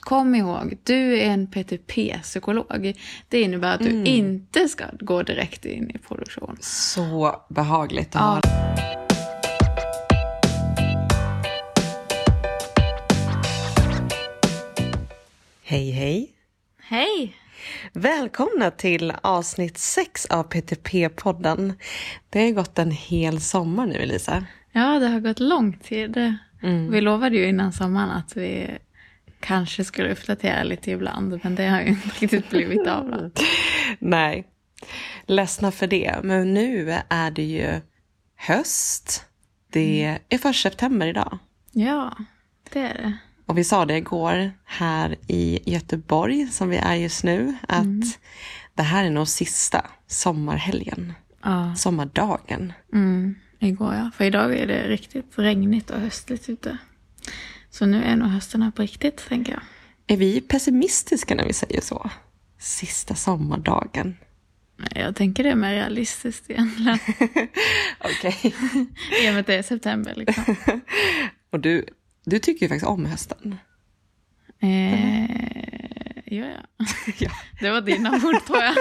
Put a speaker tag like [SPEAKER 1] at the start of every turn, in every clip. [SPEAKER 1] kom ihåg, du är en PTP-psykolog. Det innebär att du inte ska gå direkt in i produktion.
[SPEAKER 2] Så behagligt att
[SPEAKER 1] Ja.
[SPEAKER 2] ha. Hej hej!
[SPEAKER 1] Hej!
[SPEAKER 2] Välkomna till avsnitt 6 av PTP-podden. Det har ju gått en hel sommar nu Elisa.
[SPEAKER 1] Ja, det har gått lång tid. Vi lovade ju innan sommaren att vi kanske skulle uppdatera lite ibland, men det har ju inte riktigt blivit av. Då.
[SPEAKER 2] Nej, ledsna för det. Men nu är det ju höst. Det är första september idag.
[SPEAKER 1] Ja, det är det.
[SPEAKER 2] Och vi sa det igår här i Göteborg som vi är just nu att det här är nog sista sommarhelgen,
[SPEAKER 1] Ja,
[SPEAKER 2] sommardagen.
[SPEAKER 1] mm, igår ja. För idag är det riktigt regnigt och höstligt ute. Så nu är nog hösten här på riktigt, tänker jag.
[SPEAKER 2] Är vi pessimistiska när vi säger så? Sista sommardagen.
[SPEAKER 1] Men Jag tänker det är mer realistiskt egentligen.
[SPEAKER 2] Okej.
[SPEAKER 1] I och med att det är september liksom.
[SPEAKER 2] Och du, du tycker ju faktiskt om hösten.
[SPEAKER 1] Eh, ja, ja.
[SPEAKER 2] ja.
[SPEAKER 1] Det var dina ord tror jag.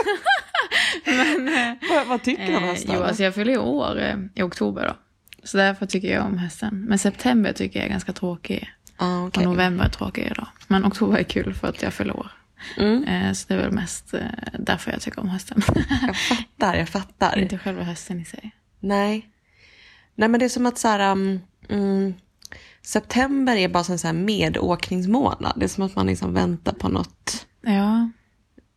[SPEAKER 2] vad, vad tycker du om
[SPEAKER 1] Eh,
[SPEAKER 2] hösten?
[SPEAKER 1] jo, alltså jag fyller ju år eh, i oktober då. Så därför tycker jag om hösten. Men september tycker jag är ganska tråkig.
[SPEAKER 2] ah,
[SPEAKER 1] Och
[SPEAKER 2] okej.
[SPEAKER 1] november är tråkigare då. Men oktober är kul för att jag fyller år.
[SPEAKER 2] Mm.
[SPEAKER 1] Eh, så det är väl mest eh, därför jag tycker om hösten.
[SPEAKER 2] Jag fattar, jag fattar.
[SPEAKER 1] Inte själva hösten i sig.
[SPEAKER 2] Nej. Nej men det är som att så här, um, mm, september är bara som en så här medåkningsmånad. Det är som att man liksom väntar på något.
[SPEAKER 1] Ja,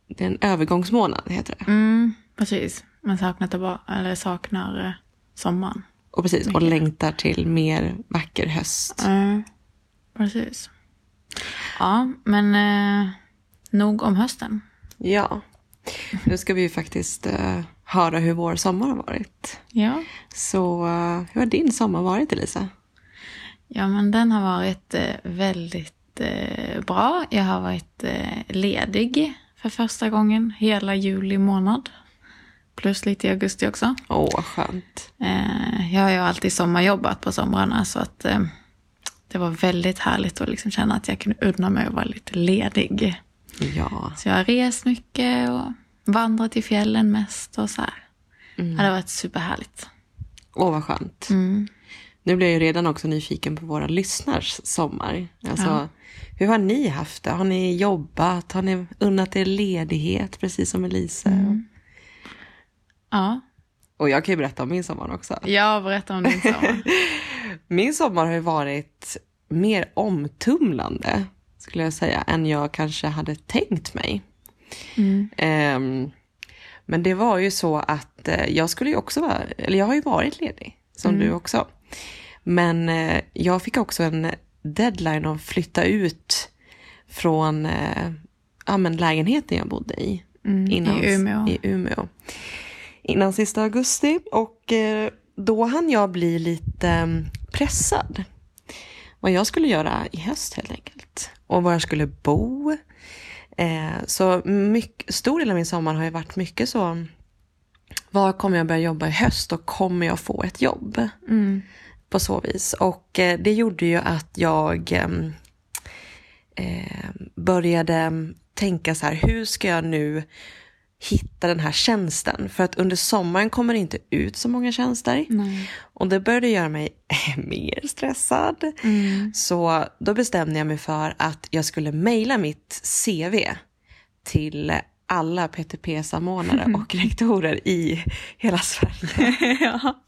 [SPEAKER 2] Det är en övergångsmånad heter det.
[SPEAKER 1] mm, precis. Man saknar, tillbaka, eller saknar eh, sommaren.
[SPEAKER 2] Och precis, och längtar till mer vacker höst.
[SPEAKER 1] Mm, precis. Ja, men eh, nog om hösten.
[SPEAKER 2] Ja. Nu ska vi ju faktiskt eh, höra hur vår sommar har varit.
[SPEAKER 1] Ja.
[SPEAKER 2] Så eh, hur har din sommar varit Elisa?
[SPEAKER 1] Ja, men den har varit eh, väldigt eh, bra. Jag har varit eh, ledig för första gången hela juli månad. Plus lite i augusti också.
[SPEAKER 2] Åh, vad skönt.
[SPEAKER 1] Eh, jag har ju alltid sommarjobbat på somrarna så att eh, det var väldigt härligt att liksom känna att jag kunde unna mig att vara lite ledig.
[SPEAKER 2] Ja.
[SPEAKER 1] Så jag har rest mycket och vandrat i fjällen mest och så här. Ja, det har varit superhärligt.
[SPEAKER 2] Åh, vad skönt.
[SPEAKER 1] Mm.
[SPEAKER 2] Nu blir jag ju redan också nyfiken på våra lyssnars sommar. Alltså, Hur har ni haft det? Har ni jobbat? Har ni unnat er ledighet, precis som Elise?
[SPEAKER 1] Ja,
[SPEAKER 2] Och jag kan ju berätta om min sommar också.
[SPEAKER 1] jag berättar om din sommar.
[SPEAKER 2] Min sommar har ju varit mer omtumlande, skulle jag säga, än jag kanske hade tänkt mig.
[SPEAKER 1] Mm.
[SPEAKER 2] Ehm, men det var ju så att eh, jag skulle ju också vara, eller jag har ju varit ledig, som
[SPEAKER 1] Mm.
[SPEAKER 2] du också. Men eh, jag fick också en deadline att flytta ut från eh, ja, men lägenheten jag bodde i.
[SPEAKER 1] Mm, I Umeå.
[SPEAKER 2] I Umeå. Innan sista augusti och eh, då hann jag bli lite mm, pressad. Vad jag skulle göra i höst helt enkelt. Och var jag skulle bo. Eh, så mycket, stor del av min sommar har ju varit mycket så. Var kommer jag börja jobba i höst och kommer jag få ett jobb?
[SPEAKER 1] Mm.
[SPEAKER 2] på så vis. Och eh, det gjorde ju att jag ehm, eh, började tänka så här, hur ska jag nu hitta den här tjänsten? För att under sommaren kommer det inte ut så många tjänster.
[SPEAKER 1] Nej.
[SPEAKER 2] Och det började göra mig mer stressad.
[SPEAKER 1] Mm.
[SPEAKER 2] Så då bestämde jag mig för att jag skulle mejla mitt CV till alla PTP-samordnare och rektorer i hela Sverige.
[SPEAKER 1] ja.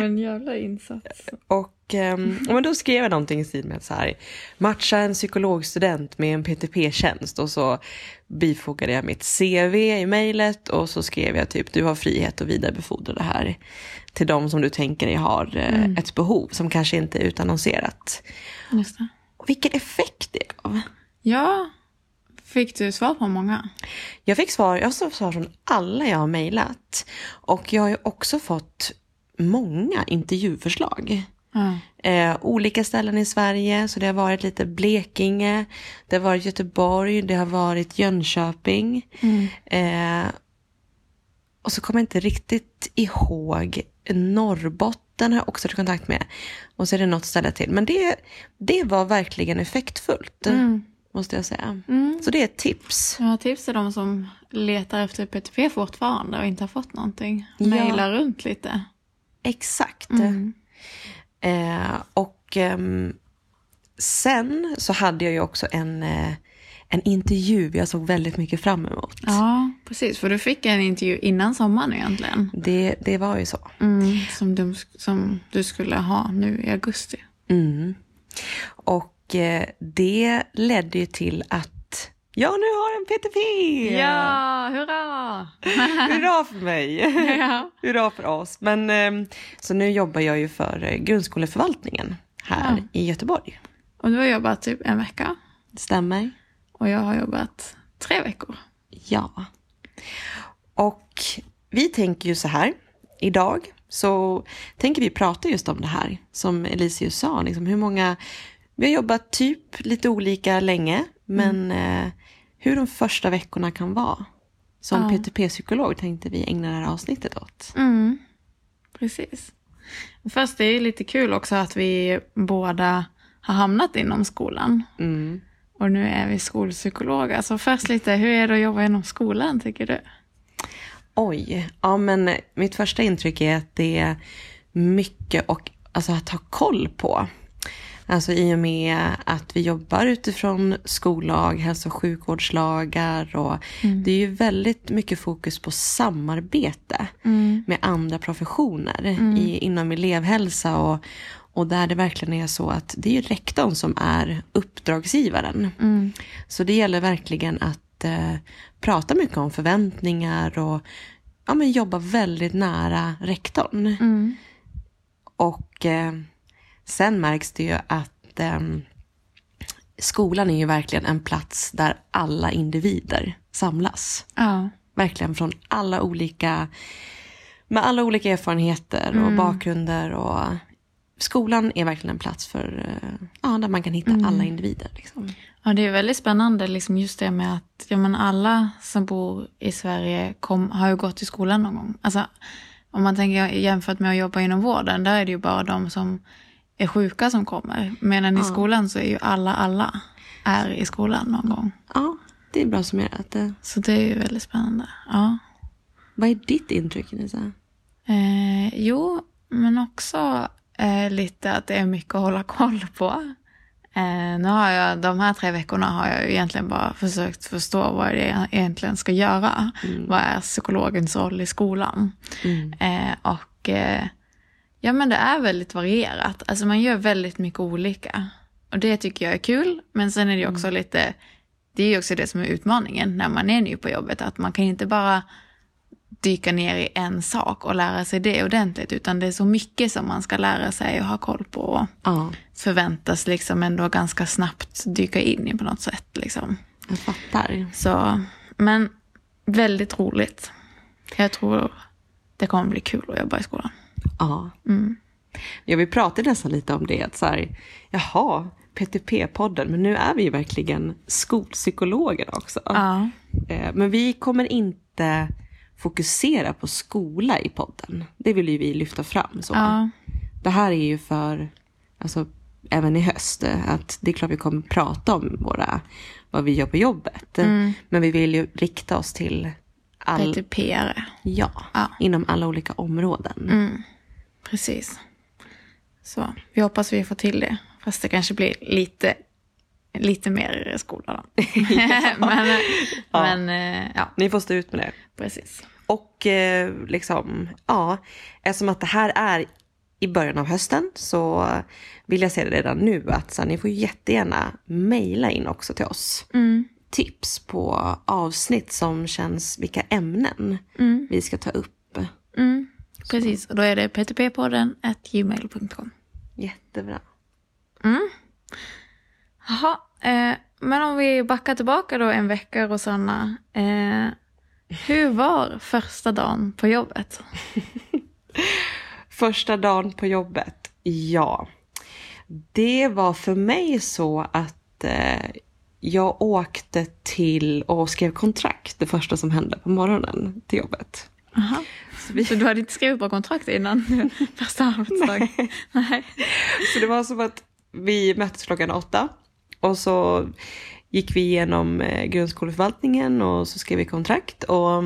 [SPEAKER 1] En jävla insats.
[SPEAKER 2] Och, ehm, ja, men då skrev jag någonting i stil med så här, matcha en psykologstudent med en PTP-tjänst och så bifogade jag mitt CV i mejlet och så skrev jag typ du har frihet att vidarebefordra det här till de som du tänker har eh, ett behov som kanske inte är utannonserat.
[SPEAKER 1] Just det.
[SPEAKER 2] Och vilken effekt det gav.
[SPEAKER 1] Ja. Fick du svar på många?
[SPEAKER 2] Jag fick svar, jag har fått svar från alla jag har mejlat och jag har ju också fått många intervjuförslag.
[SPEAKER 1] Ja.
[SPEAKER 2] eh, olika ställen i Sverige. Så det har varit lite Blekinge, det har varit Göteborg, det har varit Jönköping. Eh, och så kommer jag inte riktigt ihåg. Norrbotten har jag också varit i kontakt med. Och så är det något ställe till. Men det, det var verkligen effektfullt. måste jag säga.
[SPEAKER 1] Mm.
[SPEAKER 2] Så det är ett tips.
[SPEAKER 1] Några tips till de som letar efter PTP fortfarande och inte har fått någonting.
[SPEAKER 2] Ja.
[SPEAKER 1] Mejla runt lite.
[SPEAKER 2] Exakt.
[SPEAKER 1] Mm.
[SPEAKER 2] Eh, och ehm, sen så hade jag ju också en, eh, en intervju jag såg väldigt mycket fram emot.
[SPEAKER 1] Ja, precis. För du fick en intervju innan sommaren egentligen.
[SPEAKER 2] Det, det var ju så.
[SPEAKER 1] Mm. Som, du, som du skulle ha nu i augusti.
[SPEAKER 2] Mm. Och eh, det ledde ju till att jag nu har en PTP!
[SPEAKER 1] Ja, hurra!
[SPEAKER 2] Hurra för mig!
[SPEAKER 1] ja.
[SPEAKER 2] Hurra för oss! Men, ehm, så nu jobbar jag ju för eh, grundskoleförvaltningen här
[SPEAKER 1] Ja.
[SPEAKER 2] i Göteborg.
[SPEAKER 1] Och du har jobbat typ en vecka
[SPEAKER 2] Stämmer?
[SPEAKER 1] och jag har jobbat tre veckor.
[SPEAKER 2] Ja. Och vi tänker ju så här. Idag så tänker vi prata just om det här som Elisius sa. Liksom hur många, vi har jobbat typ lite olika länge. Men eh, hur de första veckorna kan vara. Som
[SPEAKER 1] Ja.
[SPEAKER 2] PTP-psykolog tänkte vi ägna det här avsnittet åt.
[SPEAKER 1] Mm, precis. Först det är ju lite kul också att vi båda har hamnat inom skolan.
[SPEAKER 2] Mm.
[SPEAKER 1] Och nu är vi skolpsykologer. Så först lite, hur är det att jobba inom skolan tycker du?
[SPEAKER 2] Oj, ja men mitt första intryck är att det är mycket och, alltså, att ha koll på. Alltså i och med att vi jobbar utifrån skollag, hälso och sjukvårdslagar och det är ju väldigt mycket fokus på samarbete med andra professioner i, inom elevhälsa och, och där det verkligen är så att det är ju rektorn som är uppdragsgivaren. Så det gäller verkligen att eh, prata mycket om förväntningar och ja, men jobba väldigt nära rektorn.
[SPEAKER 1] Mm.
[SPEAKER 2] Och eh, sen märks det ju att ehm, skolan är ju verkligen en plats där alla individer samlas.
[SPEAKER 1] Ja.
[SPEAKER 2] Verkligen från alla olika, med alla olika erfarenheter och bakgrunder. Och skolan är verkligen en plats för, eh, ja, där man kan hitta alla individer. Liksom.
[SPEAKER 1] Ja, det är väldigt spännande liksom just det med att ja, men alla som bor i Sverige kom, har ju gått i skolan någon gång. Alltså, om man tänker jämfört med att jobba inom vården, där är det ju bara de som är sjuka som kommer. Medan i skolan så är ju alla, alla är i skolan någon gång.
[SPEAKER 2] Ja, det är bra summerat. Eh,
[SPEAKER 1] Så det är ju väldigt spännande. Ja.
[SPEAKER 2] Vad är ditt intryck Nisa?
[SPEAKER 1] Eh, jo, men också eh, lite att det är mycket att hålla koll på. Eh, nu har jag, de här tre veckorna har jag ju egentligen bara försökt förstå vad det är jag egentligen ska göra. Vad är psykologens roll i skolan?
[SPEAKER 2] Mm.
[SPEAKER 1] Eh, och eh, ja, men det är väldigt varierat. Alltså man gör väldigt mycket olika. Och det tycker jag är kul, men sen är det ju också lite, det är ju också det som är utmaningen när man är ny på jobbet, att man kan inte bara dyka ner i en sak och lära sig det ordentligt, utan det är så mycket som man ska lära sig och ha koll på och
[SPEAKER 2] Ja,
[SPEAKER 1] förväntas liksom ändå ganska snabbt dyka in i på något sätt. Liksom.
[SPEAKER 2] jag fattar.
[SPEAKER 1] Så, men väldigt roligt. Jag tror det kommer bli kul att jobba i skolan.
[SPEAKER 2] Ja.
[SPEAKER 1] Mm.
[SPEAKER 2] ja, vi pratade nästan lite om det. Att så här, jaha, PTP-podden, men nu är vi ju verkligen skolpsykologer också.
[SPEAKER 1] Ja.
[SPEAKER 2] Eh, Men vi kommer inte fokusera på skola i podden. Det vill ju vi lyfta fram. Så.
[SPEAKER 1] Ja.
[SPEAKER 2] Det här är ju för, alltså, även i höst, eh, att det är klart vi kommer prata om våra, vad vi gör på jobbet. Men vi vill ju rikta oss till all,
[SPEAKER 1] typ PTP-are.
[SPEAKER 2] ja,
[SPEAKER 1] Ja.
[SPEAKER 2] inom alla olika områden.
[SPEAKER 1] Precis. Så vi hoppas vi får till det. Fast det kanske blir lite, lite mer skola då. men, eh, men eh, ja,
[SPEAKER 2] Ni får stå ut med det.
[SPEAKER 1] precis.
[SPEAKER 2] Och eh, liksom, ja, eftersom att det här är i början av hösten så vill jag säga det redan nu att så, här, ni får jättegärna mejla in också till oss.
[SPEAKER 1] Mm,
[SPEAKER 2] Tips på avsnitt som känns, vilka ämnen vi ska ta upp.
[SPEAKER 1] Mm, precis, och då är det ptppodden gmail.com.
[SPEAKER 2] Jättebra.
[SPEAKER 1] Jaha, eh, men om vi backar tillbaka då en vecka Rosanna. Eh, hur var första dagen på jobbet?
[SPEAKER 2] Första dagen på jobbet, ja. Det var för mig så att eh, jag åkte till och skrev kontrakt det första som hände på morgonen till jobbet.
[SPEAKER 1] Aha. Så du hade inte skrivit på kontrakt innan första arbetsdagen? Nej.
[SPEAKER 2] Så det var som att vi möttes klockan åtta och så gick vi igenom eh, grundskoleförvaltningen och så skrev vi kontrakt. Och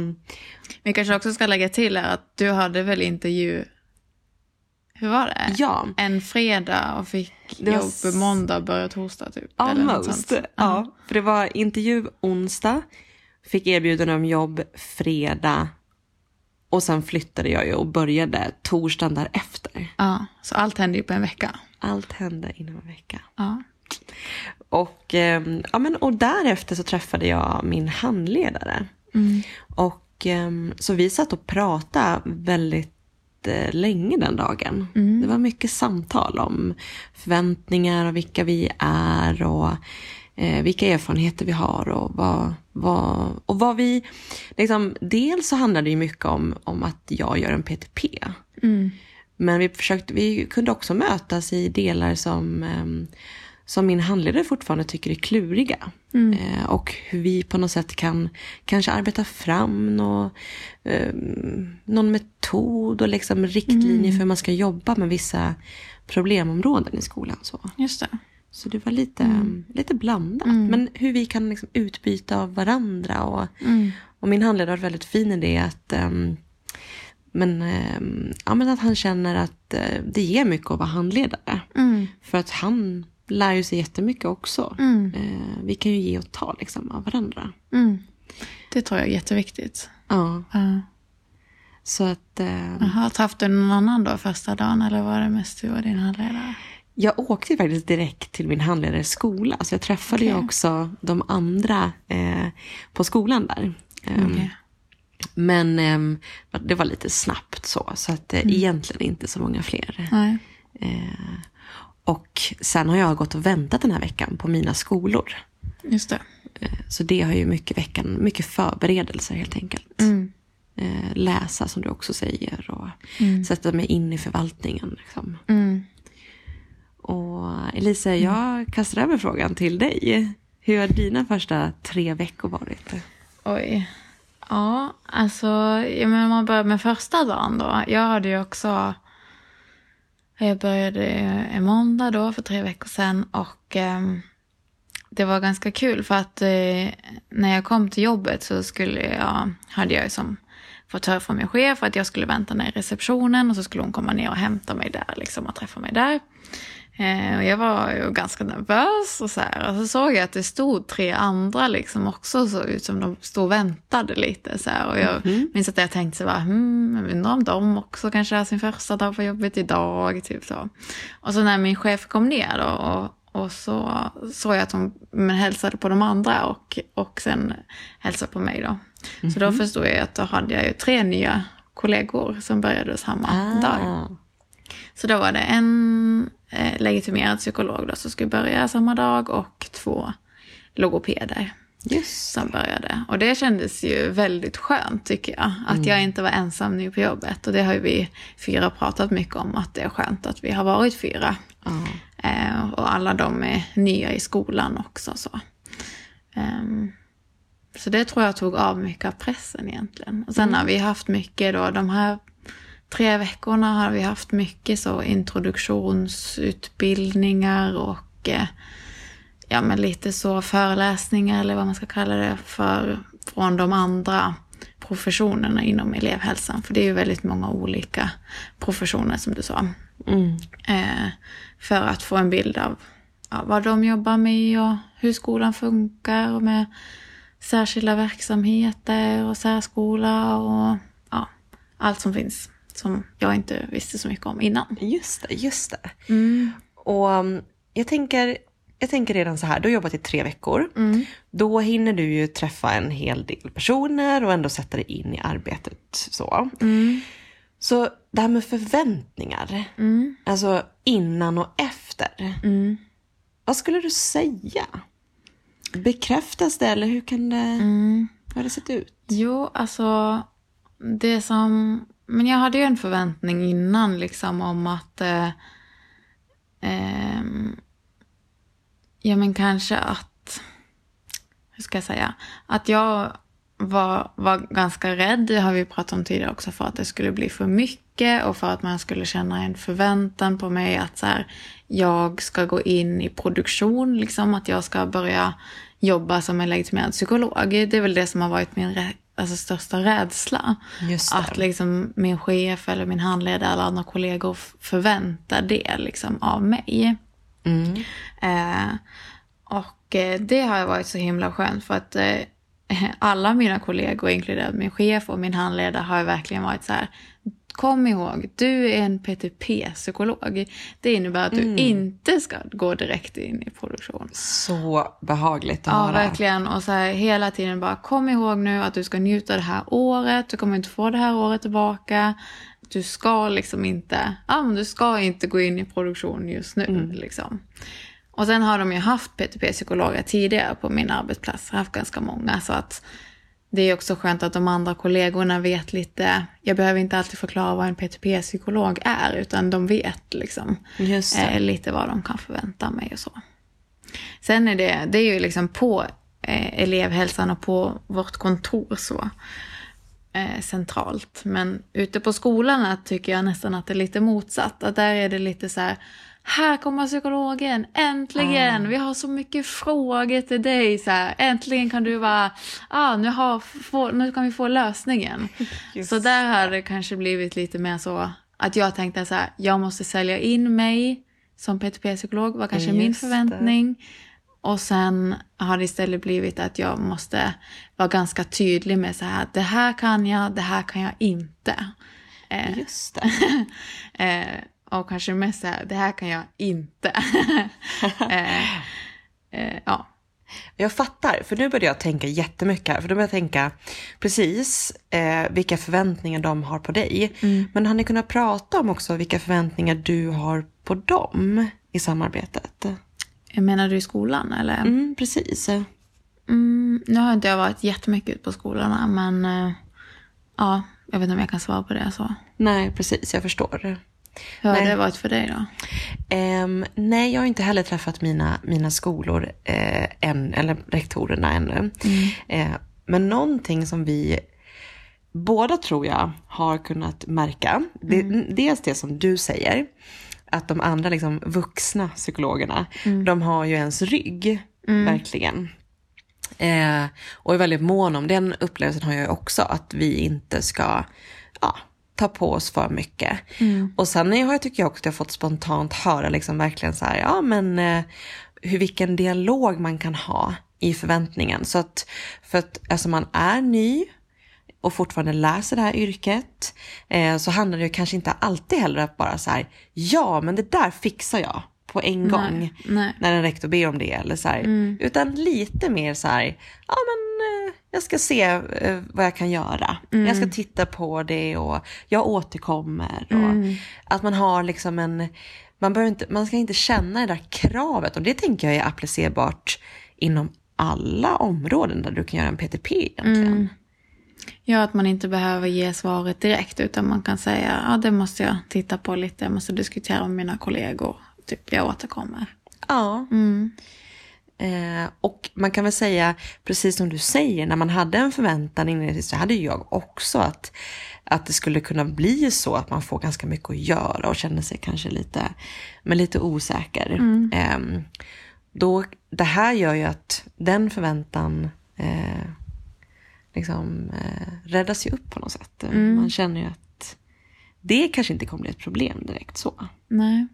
[SPEAKER 1] Vi kanske också ska lägga till här att du hade väl intervju... Hur var det?
[SPEAKER 2] ja,
[SPEAKER 1] En fredag och fick
[SPEAKER 2] Det var
[SPEAKER 1] jobb
[SPEAKER 2] s-
[SPEAKER 1] måndag och började torsdag typ. eller något
[SPEAKER 2] almost.
[SPEAKER 1] sånt.
[SPEAKER 2] Ja, för det var intervju onsdag, fick erbjudande om jobb fredag och sen flyttade jag ju och började torsdagen därefter.
[SPEAKER 1] Ja, så allt hände ju på en vecka.
[SPEAKER 2] Allt hände inom en vecka.
[SPEAKER 1] Ja.
[SPEAKER 2] Och, ehm, ja, men, och därefter så träffade jag min handledare. Och, ehm, så vi satt och pratade väldigt eh, länge den dagen. Det var mycket samtal om förväntningar och vilka vi är och eh, vilka erfarenheter vi har och vad, vad, och vad vi... Liksom, dels så handlade det ju mycket om, om att jag gör en PTP. Men vi, försökte, vi kunde också mötas i delar som, ehm, som min handledare fortfarande tycker är kluriga. Eh, Och hur vi på något sätt kan kanske arbeta fram nå, ehm, någon metod och liksom riktlinjer för hur man ska jobba med vissa problemområden i skolan. Så,
[SPEAKER 1] Just det.
[SPEAKER 2] så det var lite, lite blandat. Men hur vi kan liksom utbyta av varandra. Och, och min handledare har varit väldigt fin i det. Att, ehm, men, ehm, ja, men att han känner att eh, det ger mycket att vara handledare. För att han lär ju sig jättemycket också.
[SPEAKER 1] Mm,
[SPEAKER 2] Eh, vi kan ju ge och ta liksom, av varandra.
[SPEAKER 1] Det tror jag är jätteviktigt.
[SPEAKER 2] Ja,
[SPEAKER 1] Ja.
[SPEAKER 2] så att, ehm,
[SPEAKER 1] Jaha, träffade du någon annan då första dagen eller var det mest du och din handledare?
[SPEAKER 2] Jag åkte ju faktiskt direkt till min handledares skola. Så jag träffade ju
[SPEAKER 1] Okej.
[SPEAKER 2] också de andra eh, på skolan där. Ehm,
[SPEAKER 1] Okej.
[SPEAKER 2] Men ehm, det var lite snabbt så, så att
[SPEAKER 1] Mm.
[SPEAKER 2] eh, egentligen inte så många fler.
[SPEAKER 1] Nej.
[SPEAKER 2] Eh, och sen har jag gått och väntat den här veckan på mina skolor.
[SPEAKER 1] Just det.
[SPEAKER 2] Så det har ju mycket veckan, mycket förberedelser helt enkelt.
[SPEAKER 1] Mm.
[SPEAKER 2] Eh, läsa som du också säger och sätta mig in i förvaltningen. Liksom.
[SPEAKER 1] Mm.
[SPEAKER 2] Och Elisa, jag kastar över frågan till dig. Hur har dina första tre veckor varit?
[SPEAKER 1] Oj. Ja, alltså ja, men om man börjar med första dagen då. Jag hade ju också... Jag började en måndag då för tre veckor sedan och ehm, det var ganska kul för att eh, när jag kom till jobbet så skulle jag, hade jag ju som fått höra från min chef att jag skulle vänta ner i receptionen och så skulle hon komma ner och hämta mig där liksom och träffa mig där. Eh, och jag var ju ganska nervös och så här. Och så såg jag att det stod tre andra liksom också såg ut som de stod och väntade lite så här. Och jag minns att jag tänkte så här, hmm, jag undrar om de också kanske har sin första dag på jobbet idag, typ så. Och så när min chef kom ner då och, och så såg jag att hon men hälsade på de andra och, och sen hälsade på mig då. Så då förstod jag att då hade jag ju tre nya kollegor som började samma
[SPEAKER 2] Ah.
[SPEAKER 1] dag. Så då var det en eh, legitimerad psykolog då som skulle börja samma dag och två logopeder
[SPEAKER 2] Just
[SPEAKER 1] som började. Och det kändes ju väldigt skönt tycker jag. Att jag inte var ensam nu på jobbet. Och det har ju vi fyra pratat mycket om att det är skönt att vi har varit fyra.
[SPEAKER 2] Ja.
[SPEAKER 1] Eh, och alla de är nya i skolan också. Så. Ehm, så det tror jag tog av mycket av pressen egentligen. Och sen har vi haft mycket då, de här tre veckorna har vi haft mycket så introduktionsutbildningar och eh, ja, men lite så föreläsningar eller vad man ska kalla det för från de andra professionerna inom elevhälsan. För det är ju väldigt många olika professioner som du sa.
[SPEAKER 2] Mm.
[SPEAKER 1] Eh, för att få en bild av ja, vad de jobbar med och hur skolan funkar och med särskilda verksamheter och särskola och ja, allt som finns som jag inte visste så mycket om innan.
[SPEAKER 2] Just det, just det. Och um, jag tänker, jag tänker redan så här, du har jobbat i tre veckor. Då hinner du ju träffa en hel del personer och ändå sätta dig in i arbetet. Så, så det här med förväntningar,
[SPEAKER 1] Mm.
[SPEAKER 2] alltså innan och efter. Vad skulle du säga? Bekräftas det eller hur kan det, hur har det sett ut?
[SPEAKER 1] Jo, alltså det som... Men jag hade ju en förväntning innan liksom om att... Eh, ehm, ja, men kanske att... Hur ska jag säga? Att jag var, var ganska rädd, det har vi pratat om tidigare också, för att det skulle bli för mycket och för att man skulle känna en förväntan på mig att så här, jag ska gå in i produktion, liksom att jag ska börja jobba som en legitimerad psykolog. Det är väl det som har varit min rä- alltså, största rädsla.
[SPEAKER 2] Just det.
[SPEAKER 1] Att liksom min chef eller min handledare eller andra kollegor f- förväntar det liksom av mig.
[SPEAKER 2] Mm.
[SPEAKER 1] Eh, och eh, det har varit så himla skönt för att eh, alla mina kollegor, inkluderat min chef och min handledare, har ju verkligen varit så här. Kom ihåg, du är en PTP-psykolog. Det innebär att du inte ska gå direkt in i produktion.
[SPEAKER 2] Så behagligt att
[SPEAKER 1] Ja,
[SPEAKER 2] höra.
[SPEAKER 1] verkligen. Och så här, hela tiden bara kom ihåg nu att du ska njuta det här året. Du kommer inte få det här året tillbaka. Du ska liksom inte, ja, men du ska inte gå in i produktion just nu. Liksom. Och sen har de ju haft PTP-psykologer tidigare på min arbetsplats. Jag har haft ganska många. Så att det är också skönt att de andra kollegorna vet lite. Jag behöver inte alltid förklara vad en PTP-psykolog är, utan de vet liksom
[SPEAKER 2] Just det.
[SPEAKER 1] eh, lite vad de kan förvänta mig och så. Sen är det, det är ju liksom på eh, elevhälsan och på vårt kontor så eh, centralt. Men ute på skolorna tycker jag nästan att det är lite motsatt. Att där är det lite så här, här kommer psykologen, äntligen! Vi har så mycket frågor till dig. Så här, äntligen kan du vara, ah, nu, har, få, nu kan vi få lösningen.
[SPEAKER 2] Just
[SPEAKER 1] så där har det kanske blivit lite mer så att jag tänkte så här, jag måste sälja in mig som PTP-psykolog, vad kanske är min
[SPEAKER 2] Just det.
[SPEAKER 1] förväntning. Och sen har det istället blivit att jag måste vara ganska tydlig med så här, det här kan jag, det här kan jag inte. Eh,
[SPEAKER 2] Just det.
[SPEAKER 1] eh, och kanske mest så här, det här kan jag inte. eh, eh, ja.
[SPEAKER 2] Jag fattar, för nu började jag tänka jättemycket här. För då började jag tänka precis eh, vilka förväntningar de har på dig. Men har ni kunnat prata om också vilka förväntningar du har på dem i samarbetet?
[SPEAKER 1] Menar du i skolan eller?
[SPEAKER 2] Mm, precis.
[SPEAKER 1] Mm, nu har inte jag varit jättemycket ute på skolorna men eh, ja, jag vet inte om jag kan svara på det så.
[SPEAKER 2] Nej, precis, jag förstår.
[SPEAKER 1] Hur har
[SPEAKER 2] Nej.
[SPEAKER 1] det varit för dig då?
[SPEAKER 2] Ehm, nej, jag har inte heller träffat mina, mina skolor eh, än, eller rektorerna ännu. Eh, men någonting som vi båda tror jag har kunnat märka, det, dels det som du säger, att de andra liksom, vuxna psykologerna, de har ju ens rygg, verkligen. Eh, och är väldigt mån om, den upplevelsen har jag ju också, att vi inte ska ja, ta på oss för mycket. Och sen har jag, tycker jag också att jag har fått spontant höra liksom verkligen så här, ja men eh, hur, vilken dialog man kan ha i förväntningen. Så att, för att alltså man är ny, och fortfarande läser det här yrket eh, så handlar det ju kanske inte alltid heller att bara så här, ja men det där fixar jag på en gång
[SPEAKER 1] nej.
[SPEAKER 2] när en rektor ber om det eller så här. Utan lite mer så här, ja men eh, jag ska se eh, vad jag kan göra. Jag ska titta på det och jag återkommer. Och Att man har liksom en, man, behöver inte, man ska inte känna det där kravet och det tänker jag är applicerbart inom alla områden där du kan göra en PTP egentligen.
[SPEAKER 1] Ja, att man inte behöver ge svaret direkt utan man kan säga ja, det måste jag titta på lite, jag måste diskutera med mina kollegor. Typ, jag återkommer.
[SPEAKER 2] Ja. Eh, och man kan väl säga, precis som du säger, när man hade en förväntan inledningsvis så hade ju jag också att, att det skulle kunna bli så att man får ganska mycket att göra och känner sig kanske lite, men lite osäker. Ehm, då, det här gör ju att den förväntan eh, liksom, eh, räddas ju upp på något sätt. Man känner ju att det kanske inte kommer bli ett problem direkt så.
[SPEAKER 1] Nej.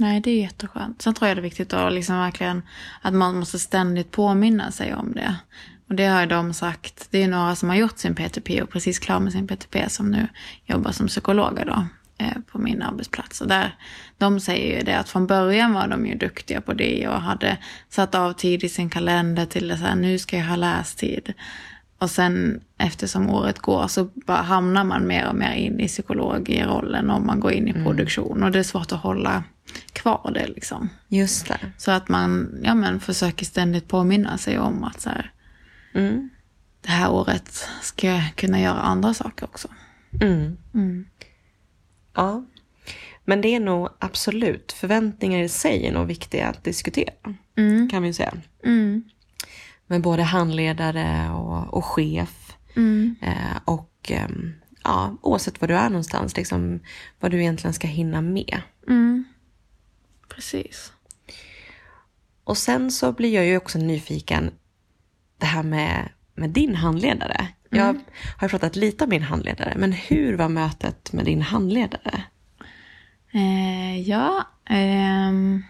[SPEAKER 1] Nej, det är jätteskönt. Sen tror jag det är viktigt att liksom verkligen att man måste ständigt påminna sig om det. Och det har ju de sagt. Det är några som har gjort sin PTP och precis klar med sin PTP som nu jobbar som psykologer då eh, på min arbetsplats. Och där, de säger ju det att från början var de ju duktiga på det och hade satt av tid i sin kalender till det så här, nu ska jag ha lästid. Och sen eftersom året går så bara hamnar man mer och mer in i psykologrollen och man går in i produktion och det är svårt att hålla kvar det liksom.
[SPEAKER 2] Just det.
[SPEAKER 1] Så att man ja, men, försöker ständigt påminna sig om att så här,
[SPEAKER 2] Mm.
[SPEAKER 1] det här året ska jag kunna göra andra saker också.
[SPEAKER 2] Mm. Ja. Men det är nog absolut, förväntningar i sig är nog viktiga Mm. att diskutera. Kan vi ju säga. Med både handledare och och chef.
[SPEAKER 1] Mm.
[SPEAKER 2] Eh, och eh, ja, oavsett var du är någonstans, liksom, vad du egentligen ska hinna med.
[SPEAKER 1] Mm. Precis.
[SPEAKER 2] Och sen så blir jag ju också nyfiken, det här med, med din handledare. Jag har ju pratat lite om min handledare, men hur var mötet med din handledare?
[SPEAKER 1] Eh, ja. ehm,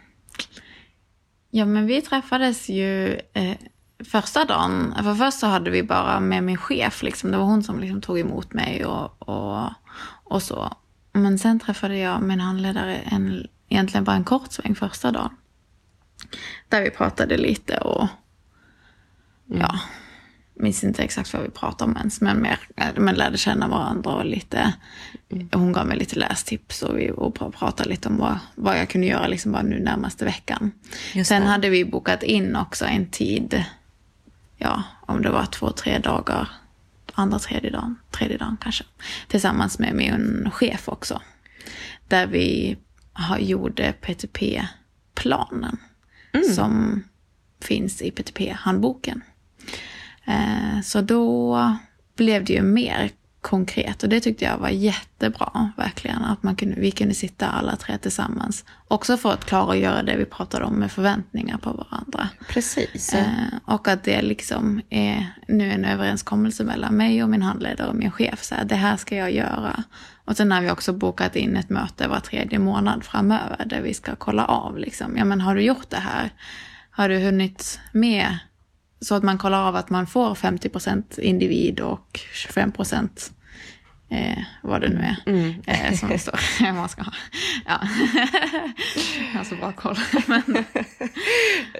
[SPEAKER 1] ja, men vi träffades ju eh, första dagen. För först så hade vi bara med min chef. Liksom. Det var hon som liksom tog emot mig och, och, och så. Men sen träffade jag min handledare en, egentligen bara en kort sväng första dagen. Där vi pratade lite och
[SPEAKER 2] Mm.
[SPEAKER 1] ja, minns inte exakt vad vi pratade om ens, men, mer, men lärde känna varandra och lite,
[SPEAKER 2] Mm.
[SPEAKER 1] hon gav mig lite lästips och vi och pra- pratade lite om vad, vad jag kunde göra liksom bara nu närmaste veckan.
[SPEAKER 2] Just
[SPEAKER 1] Sen
[SPEAKER 2] det.
[SPEAKER 1] hade vi bokat in också en tid, ja, om det var två, tre dagar, andra, tredje dagen, tredje dagen kanske, tillsammans med min chef också. Där vi har, gjorde PTP-planen som finns i PTP-handboken. Eh, Så då blev det ju mer konkret och det tyckte jag var jättebra, verkligen. Att man kunde, vi kunde sitta alla tre tillsammans. Också för att klara att göra det vi pratade om med förväntningar på varandra.
[SPEAKER 2] Precis.
[SPEAKER 1] Eh, Och att det liksom är nu en överenskommelse mellan mig och min handledare och min chef. Så här, det här ska jag göra. Och sen har vi också bokat in ett möte var tredje månad framöver där vi ska kolla av. Liksom. Ja, men har du gjort det här? Har du hunnit med? Så att man kollar av att man får 50 individ och 25 eh, vad det nu är eh, som det står. man ska ha. Ja. Jag har så bra koll. Alltså, Men,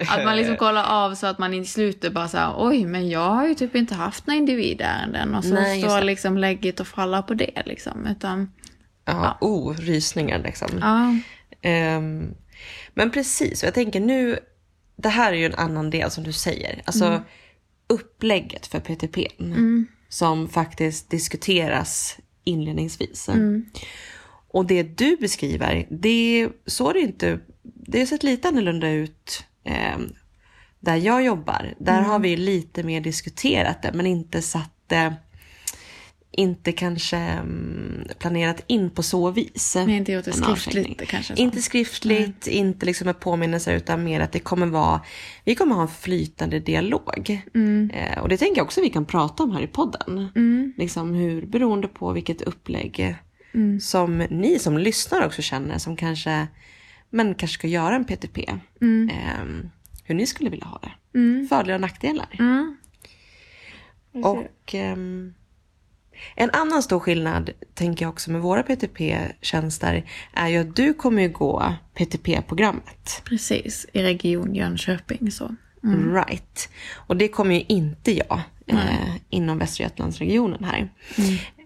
[SPEAKER 1] att man liksom kollar av så att man i slutet bara såhär, oj men jag har ju typ inte haft några individärenden och så
[SPEAKER 2] Nej, just
[SPEAKER 1] står
[SPEAKER 2] det.
[SPEAKER 1] liksom lägget och faller på det liksom. Utan,
[SPEAKER 2] ja, oh, rysningar liksom.
[SPEAKER 1] ja.
[SPEAKER 2] Ehm, men precis, och jag tänker nu, det här är ju en annan del som du säger. Alltså upplägget för PTP som faktiskt diskuteras inledningsvis. Och det du beskriver, det såg det inte, det har sett lite annorlunda ut ehm, där jag jobbar. Där har vi lite mer diskuterat det men inte satt det, inte kanske mm, planerat in på så vis.
[SPEAKER 1] Ni har inte gjort det
[SPEAKER 2] En
[SPEAKER 1] skriftligt
[SPEAKER 2] avstängning.
[SPEAKER 1] kanske? så.
[SPEAKER 2] Inte skriftligt, inte liksom med påminnelser utan mer att det kommer vara, vi kommer ha en flytande dialog.
[SPEAKER 1] Mm.
[SPEAKER 2] Eh, och det tänker jag också vi kan prata om här i podden. Liksom hur, beroende på vilket upplägg
[SPEAKER 1] Mm.
[SPEAKER 2] som ni som lyssnar också känner som kanske, men kanske ska göra en PTP.
[SPEAKER 1] Mm.
[SPEAKER 2] Ehm, hur ni skulle vilja ha det. Fördelar och nackdelar.
[SPEAKER 1] Mm.
[SPEAKER 2] Och ehm, en annan stor skillnad, tänker jag också med våra PTP-tjänster, är ju att du kommer ju gå PTP-programmet.
[SPEAKER 1] Precis, i region Jönköping så.
[SPEAKER 2] Right. Och det kommer ju inte jag eh, inom Västra Götalandsregionen här.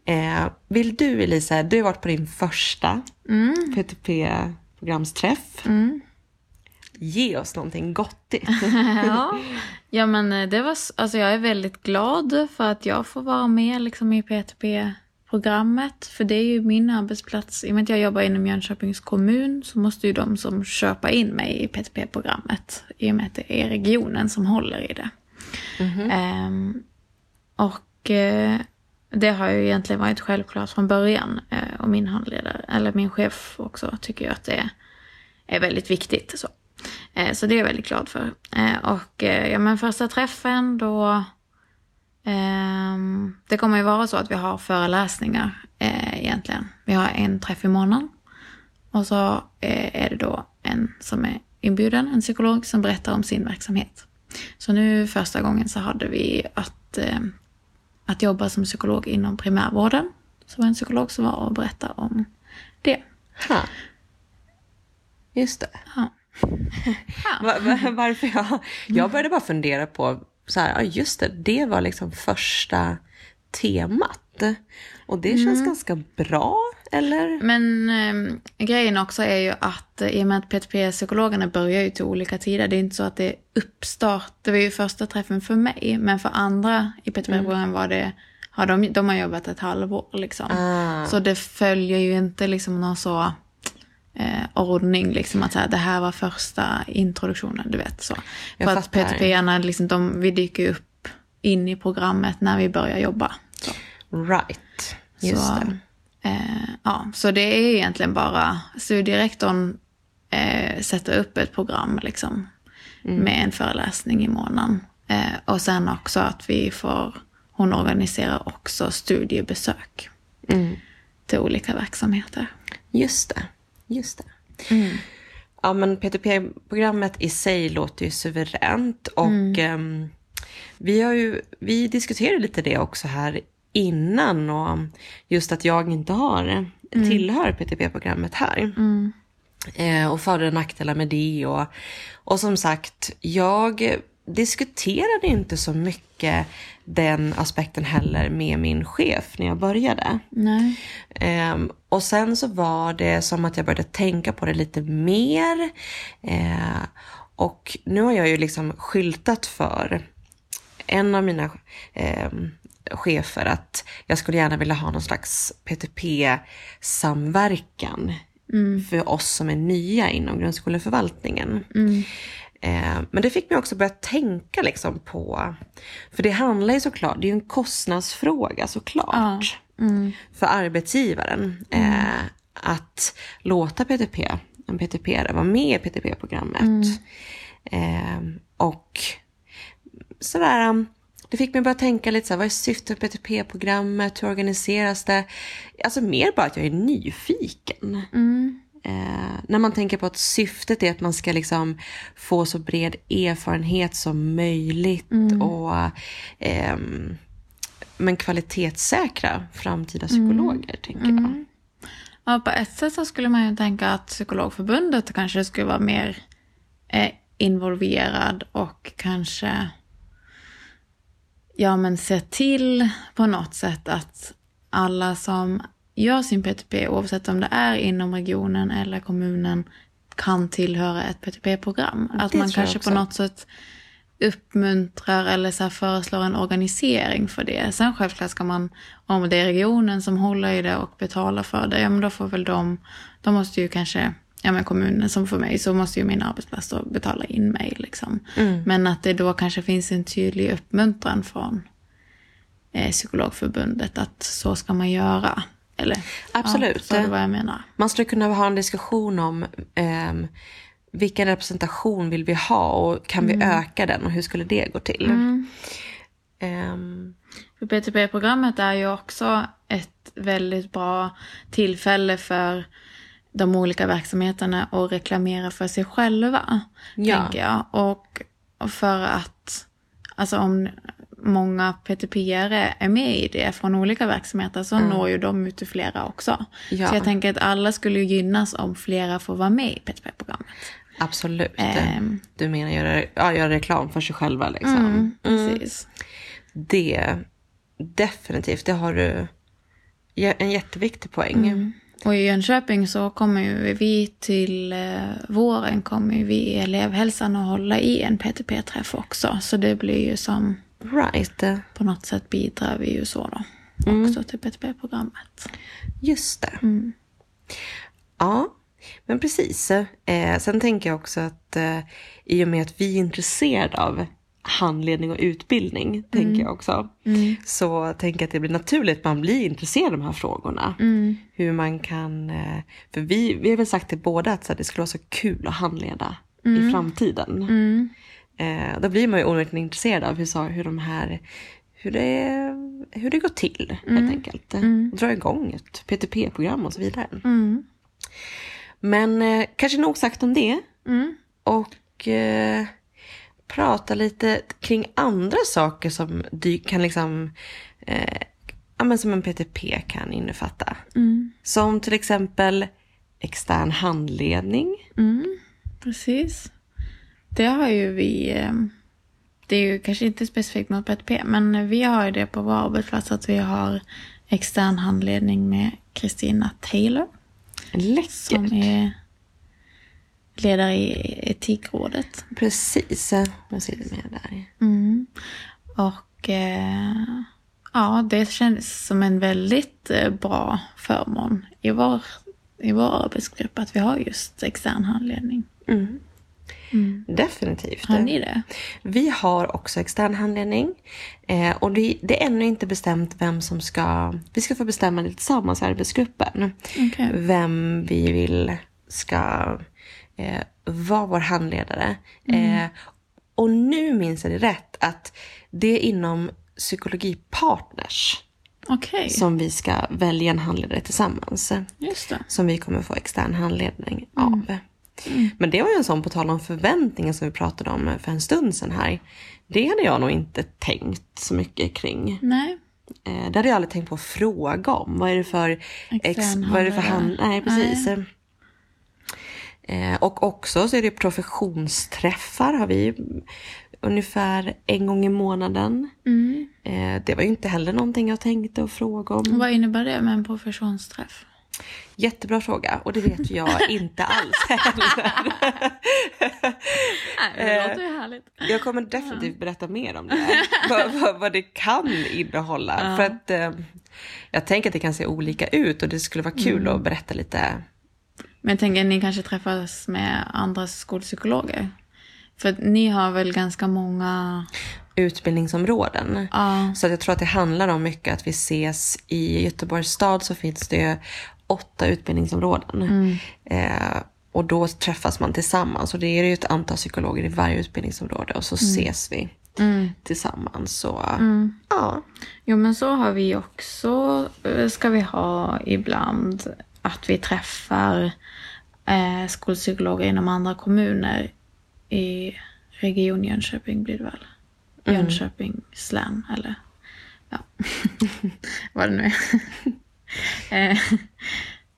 [SPEAKER 2] Eh, vill du Elisa, du har varit på din första PTP-programsträff. Ge oss någonting gottigt.
[SPEAKER 1] Ja. ja, men eh, det var, s- alltså jag är väldigt glad för att jag får vara med liksom i PTP-programmet. För det är ju min arbetsplats. I och med att jag jobbar inom Jönköpings kommun så måste ju de som köpa in mig i PTP-programmet, i och med att det är regionen som håller i det. Ehm, och eh, det har ju egentligen varit självklart från början. Eh, och min handledare, eller min chef också, tycker ju att det är väldigt viktigt. Så, eh, så det är jag väldigt glad för. Eh, och eh, ja, men första träffen då... ehm, det kommer ju vara så att vi har föreläsningar eh, egentligen. Vi har en träff i månaden. Och så eh, är det då en som är inbjuden, en psykolog, som berättar om sin verksamhet. Så nu första gången så hade vi att, eh, att jobba som psykolog inom primärvården. Så var det en psykolog som var och berättade om det.
[SPEAKER 2] Ha. Just det.
[SPEAKER 1] Ja.
[SPEAKER 2] Va- va- Varför jag, jag började bara fundera på, så här, ja just det, det var liksom första temat. Och det känns ganska bra, eller?
[SPEAKER 1] Men ehm, grejen också är ju att eh, i och med att PTP-psykologerna börjar ju till olika tider, det är inte så att det är uppstart. Det var ju första träffen för mig, men för andra i
[SPEAKER 2] Mm.
[SPEAKER 1] PTP-programmet var det, har de, de har jobbat ett halvår liksom.
[SPEAKER 2] Ah.
[SPEAKER 1] Så det följer ju inte liksom någon så eh, ordning, liksom att så här, det här var första introduktionen, du vet så.
[SPEAKER 2] Jag
[SPEAKER 1] för att
[SPEAKER 2] fattar.
[SPEAKER 1] PTP-arna, liksom, de, vi dyker ju upp in i programmet när vi börjar jobba. Så.
[SPEAKER 2] Right. Just
[SPEAKER 1] så,
[SPEAKER 2] det.
[SPEAKER 1] Eh, ja, så det är egentligen bara studierektorn eh, sätter upp ett program liksom,
[SPEAKER 2] Mm.
[SPEAKER 1] med en föreläsning i månaden. Eh, och sen också att vi får, hon organiserar också studiebesök
[SPEAKER 2] Mm.
[SPEAKER 1] till olika verksamheter.
[SPEAKER 2] Just det. Just det. Ja, men PTP-programmet i sig låter ju suveränt. Och ehm, vi, har ju, vi diskuterade lite det också här innan. Och just att jag inte har, eh, tillhör PTP-programmet här. Eh, och för och nackdelar med det. Och, och som sagt, jag diskuterade inte så mycket den aspekten heller med min chef när jag började.
[SPEAKER 1] Nej.
[SPEAKER 2] Ehm, och sen så var det som att jag började tänka på det lite mer. Eh, och nu har jag ju liksom skyltat för en av mina ehm, chefer att jag skulle gärna vilja ha någon slags PTP-samverkan för oss som är nya inom grundskoleförvaltningen. Eh, Men det fick mig också börja tänka liksom på, för det handlar ju såklart, det är ju en kostnadsfråga såklart för arbetsgivaren eh, att låta PTP, en PTP vara med i PTP-programmet. Eh, och sådär, um, det fick mig börja tänka lite såhär, vad är syftet med PTP-programmet, hur organiseras det? Alltså mer bara att jag är nyfiken. Eh, när man tänker på att syftet är att man ska liksom få så bred erfarenhet som möjligt och ehm, men kvalitetssäkra framtida psykologer tänker jag.
[SPEAKER 1] Ja, på ett sätt så skulle man ju tänka att Psykologförbundet kanske skulle vara mer eh, involverad och kanske ja, men se till på något sätt att alla som gör sin PTP, oavsett om det är inom regionen eller kommunen, kan tillhöra ett PTP-program. Att
[SPEAKER 2] Det
[SPEAKER 1] man
[SPEAKER 2] tror jag
[SPEAKER 1] kanske på
[SPEAKER 2] också.
[SPEAKER 1] något sätt uppmuntrar eller så här föreslår en organisering för det. Sen självklart ska man, om det är regionen som håller i det och betalar för det, ja men då får väl de, de måste ju kanske, ja men kommunen som för mig, så måste ju min arbetsplats då betala in mig liksom. Men att det då kanske finns en tydlig uppmuntran från eh, Psykologförbundet att så ska man göra. Eller,
[SPEAKER 2] Absolut.
[SPEAKER 1] Ja, förstår du vad jag menar?
[SPEAKER 2] Man skulle kunna ha en diskussion om ehm, vilken representation vill vi ha och kan vi öka den och hur skulle det gå till? Ehm,
[SPEAKER 1] För PTP-programmet är ju också ett väldigt bra tillfälle för de olika verksamheterna att reklamera för sig själva.
[SPEAKER 2] Ja.
[SPEAKER 1] Tänker jag. Och och för att alltså om många PTP-are är med i det från olika verksamheter så når ju de ut till flera också.
[SPEAKER 2] Mm. Ja.
[SPEAKER 1] Så jag tänker att alla skulle ju gynnas om flera får vara med i PTP-programmet.
[SPEAKER 2] absolut.
[SPEAKER 1] Ehm. Mm.
[SPEAKER 2] Du menar göra, ja, göra reklam för sig själva liksom.
[SPEAKER 1] Precis.
[SPEAKER 2] Det, definitivt, det har du jä- en jätteviktig poäng.
[SPEAKER 1] Mm. Och i Jönköping så kommer ju vi till eh, våren kommer ju vi i elevhälsan att hålla i en PTP-träff också. Så det blir ju som,
[SPEAKER 2] Right,
[SPEAKER 1] på något sätt bidrar vi ju så då. Också till PTP-programmet.
[SPEAKER 2] just det. Ja, men precis. Eh, sen tänker jag också att eh, i och med att vi är intresserade av handledning och utbildning, tänker jag också, så tänker jag att det blir naturligt att man blir intresserad av de här frågorna. Hur man kan, eh, för vi, vi har väl sagt till båda att så här, det skulle vara så kul att handleda i framtiden. Eh, då blir man ju onekligen intresserad av hur, sa- hur de här hur det, hur det går till
[SPEAKER 1] Mm.
[SPEAKER 2] helt enkelt. Dra igång ett PTP-program och så vidare. Men eh, kanske nog sagt om det.
[SPEAKER 1] Mm.
[SPEAKER 2] Och eh, prata lite kring andra saker som dy- kan liksom eh, ja, men som en PTP kan innefatta.
[SPEAKER 1] Mm.
[SPEAKER 2] Som till exempel extern handledning.
[SPEAKER 1] Precis. Det har ju vi, eh, det är ju kanske inte specifikt mot PTP, men vi har ju det på vår arbetsplats att vi har extern handledning med Kristina Taylor.
[SPEAKER 2] Läckert.
[SPEAKER 1] Som är ledare i Etikrådet.
[SPEAKER 2] Precis. Nu ser du med där.
[SPEAKER 1] Mm. Och eh, ja, det känns som en väldigt eh, bra förmån i vår, i vår arbetsgrupp att vi har just extern handledning. Mm.
[SPEAKER 2] Definitivt.
[SPEAKER 1] Har ni det?
[SPEAKER 2] Vi har också extern handledning. Eh, och det, det är ännu inte bestämt vem som ska... Vi ska få bestämma det tillsammans i arbetsgruppen.
[SPEAKER 1] Okej.
[SPEAKER 2] Vem vi vill ska eh, vara vår handledare. Eh, och nu minns jag det rätt att det är inom psykologipartners
[SPEAKER 1] Okej,
[SPEAKER 2] som vi ska välja en handledare tillsammans.
[SPEAKER 1] just det.
[SPEAKER 2] Som vi kommer få extern handledning
[SPEAKER 1] Mm.
[SPEAKER 2] av. Men det var ju en sån, på tal om förväntningar som vi pratade om för en stund sedan här. Det hade jag nog inte tänkt så mycket kring.
[SPEAKER 1] Nej,
[SPEAKER 2] Eh, det hade jag aldrig tänkt på att fråga om. Vad är det för...
[SPEAKER 1] Extern
[SPEAKER 2] vad är det för hand...
[SPEAKER 1] handledare.
[SPEAKER 2] Nej, precis. Eh, och också så är det professionsträffar har vi ungefär en gång i månaden.
[SPEAKER 1] Mm.
[SPEAKER 2] Eh, det var ju inte heller någonting jag tänkte att fråga om.
[SPEAKER 1] vad innebär det med en professionsträff?
[SPEAKER 2] Jättebra fråga och det vet jag inte alls heller.
[SPEAKER 1] Nej,
[SPEAKER 2] Eh,
[SPEAKER 1] det låter ju härligt.
[SPEAKER 2] Jag kommer definitivt berätta mer om det här. Vad, vad, vad det kan innehålla. För att eh, jag tänker att det kan se olika ut och det skulle vara kul att berätta lite.
[SPEAKER 1] Men jag tänker, ni kanske träffas med andra skolpsykologer? För att ni har väl ganska många...
[SPEAKER 2] utbildningsområden.
[SPEAKER 1] Ja.
[SPEAKER 2] Så att jag tror att det handlar om mycket att vi ses i Göteborgs stad så finns det åtta utbildningsområden. Eh, och då träffas man tillsammans och det är ju ett antal psykologer i varje utbildningsområde och så ses vi tillsammans. Så, ja.
[SPEAKER 1] Jo, men så har vi också, eh, ska vi ha ibland, att vi träffar eh, skolpsykologer inom andra kommuner i Region Jönköping blir det väl? Jönköpings län, eller? Ja, vad det nu är.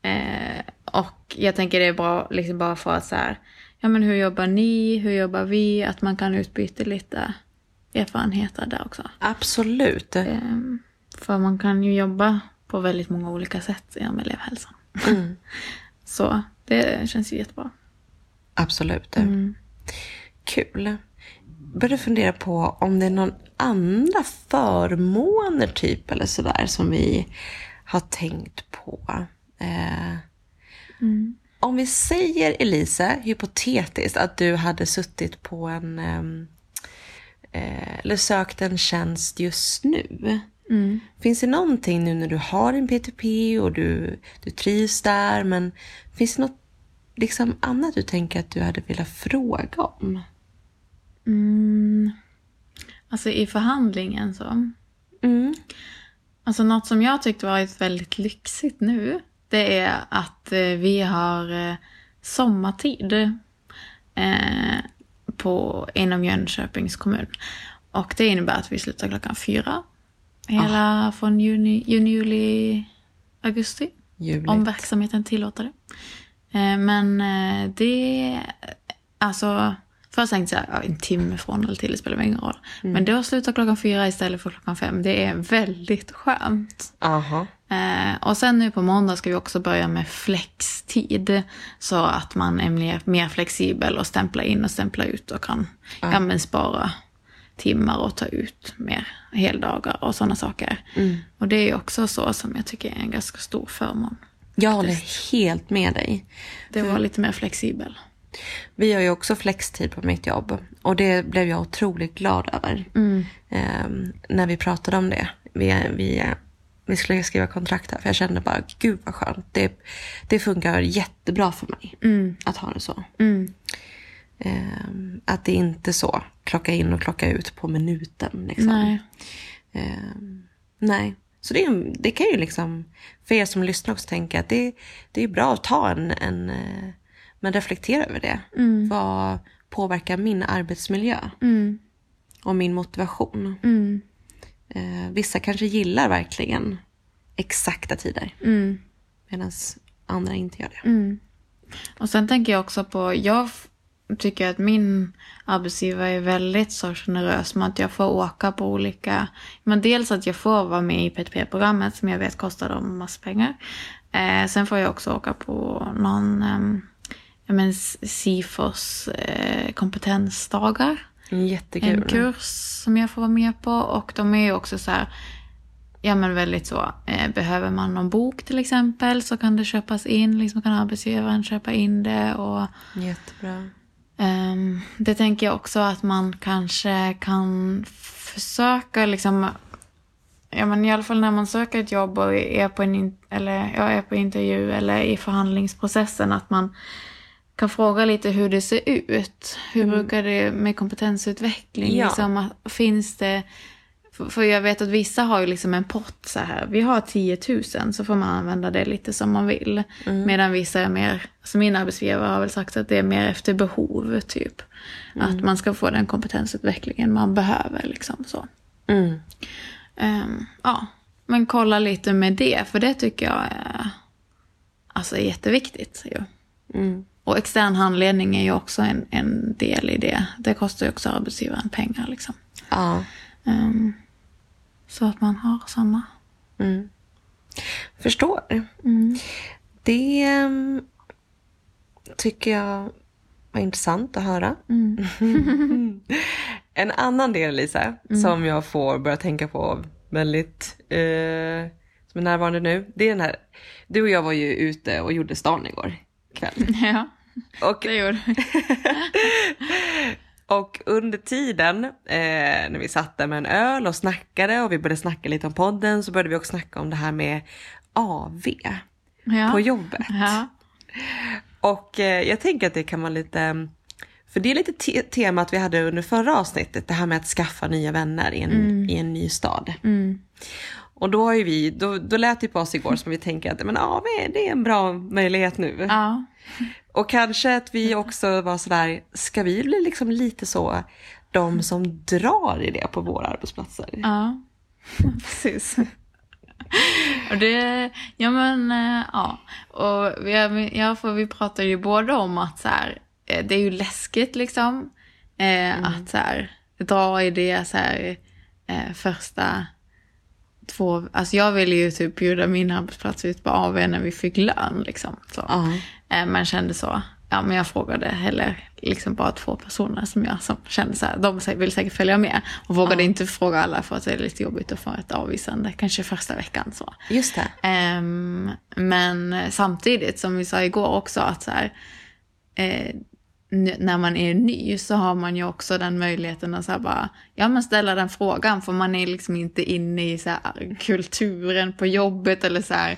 [SPEAKER 1] eh, eh, och jag tänker det är bra, liksom bara för att så här, ja men hur jobbar ni, hur jobbar vi, att man kan utbyta lite erfarenheter där också.
[SPEAKER 2] Absolut.
[SPEAKER 1] Ehm, För man kan ju jobba på väldigt många olika sätt inom elevhälsan. Så det känns ju jättebra.
[SPEAKER 2] Absolut. Kul. Började fundera på om det är någon andra förmåner typ eller sådär som vi har tänkt på. Eh, Om vi säger Elise, hypotetiskt, att du hade suttit på en ehm, eh, eller sökt en tjänst just nu. Finns det någonting nu när du har din P2P och du, du trivs där, men finns det något liksom annat du tänker att du hade velat fråga om?
[SPEAKER 1] Mm. Alltså i förhandlingen så.
[SPEAKER 2] Mm.
[SPEAKER 1] Alltså något som jag tyckte varit väldigt lyxigt nu. Det är att eh, vi har eh, sommartid. Eh, på, inom Jönköpings kommun. Och det innebär att vi slutar klockan fyra. Hela från juni, juni, juli, augusti.
[SPEAKER 2] Juligt.
[SPEAKER 1] Om verksamheten tillåter det. Eh, Men eh, det... Alltså, först tänkte jag ja, en timme från eller till, det spelar väl ingen roll. Men då slutar klockan fyra istället för klockan fem. Det är väldigt skönt.
[SPEAKER 2] Aha.
[SPEAKER 1] Eh, och sen nu på måndag ska vi också börja med flextid. Så att man är mer, mer flexibel och stämplar in och stämplar ut och kan ja, men spara timmar och ta ut mer heldagar och sådana saker. Och det är ju också så som jag tycker är en ganska stor förmån.
[SPEAKER 2] Jag håller helt med dig.
[SPEAKER 1] Det var lite mer flexibel.
[SPEAKER 2] Vi har ju också flextid på mitt jobb och det blev jag otroligt glad över. Ehm, när vi pratade om det. Vi, vi, vi skulle skriva kontrakt här för jag kände bara gud vad skönt. Det, det funkar jättebra för mig att ha det så. Ehm, att det är inte så klocka in och klocka ut på minuten. Liksom.
[SPEAKER 1] Nej.
[SPEAKER 2] Ehm, nej. Så det, är, en- det kan ju liksom, för er som lyssnar också tänka att det, det är bra att ta en, en eh, men reflektera över det. Vad påverkar min arbetsmiljö? Och min motivation? Eh, vissa kanske gillar verkligen exakta tider.
[SPEAKER 1] Mm.
[SPEAKER 2] Medan andra inte gör det.
[SPEAKER 1] Och sen tänker jag också på, jag f- tycker att min arbetsgivare är väldigt så generös med att jag får åka på olika, men dels att jag får vara med i PTP-programmet som jag vet kostar dem massa pengar. Eh, sen får jag också åka på någon, ehm, ja men Sifos eh, kompetensdagar.
[SPEAKER 2] Jättekul.
[SPEAKER 1] En kurs som jag får vara med på och de är ju också så här, ja men väldigt så, eh, behöver man någon bok till exempel så kan det köpas in, liksom kan arbetsgivaren köpa in det och
[SPEAKER 2] Jättebra.
[SPEAKER 1] Ehm, det tänker jag också att man kanske kan försöka liksom Ja, men I alla fall när man söker ett jobb och är på, en in- eller, ja, är på intervju eller i förhandlingsprocessen att man kan fråga lite hur det ser ut. Hur brukar det med kompetensutveckling?
[SPEAKER 2] Ja.
[SPEAKER 1] Liksom, att- finns det... För, för jag vet att vissa har ju liksom en pott så här. Vi har 10 000 så får man använda det lite som man vill. Medan vissa är mer, alltså min arbetsgivare har väl sagt att det är mer efter behov typ. Att man ska få den kompetensutvecklingen man behöver liksom så.
[SPEAKER 2] Mm.
[SPEAKER 1] Ehm, ja, men kolla lite med det, för det tycker jag är, alltså, är jätteviktigt. Ju.
[SPEAKER 2] Mm.
[SPEAKER 1] Och extern handledning är ju också en, en del i det. Det kostar ju också arbetsgivaren pengar. Liksom.
[SPEAKER 2] Ja.
[SPEAKER 1] Ehm, så att man har samma.
[SPEAKER 2] Mm. Förstår.
[SPEAKER 1] Mm.
[SPEAKER 2] Det ehm, tycker jag var intressant att höra.
[SPEAKER 1] Mm. Mm.
[SPEAKER 2] En annan del Lisa, som jag får börja tänka på väldigt, eh, som är närvarande nu. Det är den här, du och jag var ju ute och gjorde stan igår kväll.
[SPEAKER 1] Ja,
[SPEAKER 2] Och,
[SPEAKER 1] det gjorde vi.
[SPEAKER 2] och under tiden eh, när vi satt där med en öl och snackade och vi började snacka lite om podden så började vi också snacka om det här med AV
[SPEAKER 1] Ja.
[SPEAKER 2] på jobbet.
[SPEAKER 1] Ja.
[SPEAKER 2] Och eh, jag tänker att det kan vara lite, mm, för det är lite te- temat vi hade under förra avsnittet, det här med att skaffa nya vänner i en, i en ny stad.
[SPEAKER 1] Mm.
[SPEAKER 2] Och då, har ju vi, då, då lät det på oss igår som vi tänker att men, ja, men det är en bra möjlighet nu.
[SPEAKER 1] ja.
[SPEAKER 2] Och kanske att vi också var sådär, ska vi bli liksom lite så de som drar i det på våra arbetsplatser?
[SPEAKER 1] Ja, precis. Och det, ja men eh, ja. Och vi, ja, för vi pratade ju både om att så här, eh, det är ju läskigt liksom. Eh, Att så här, dra i det så här, eh, första två, alltså jag ville ju typ bjuda min arbetsplats ut på AV när vi fick lön liksom. Så.
[SPEAKER 2] Ja.
[SPEAKER 1] Eh, Men kände så, ja men jag frågade heller liksom bara två personer som jag som kände så här, de sä- vill säkert följa med. Och vågade inte fråga alla för att det är lite jobbigt att få ett avvisande, kanske första veckan så.
[SPEAKER 2] Just det.
[SPEAKER 1] Ehm, men samtidigt, som vi sa igår också, att så här, eh, n- när man är ny så har man ju också den möjligheten att så här bara, ja, men ställa den frågan, för man är liksom inte inne i så här, kulturen på jobbet. eller så här,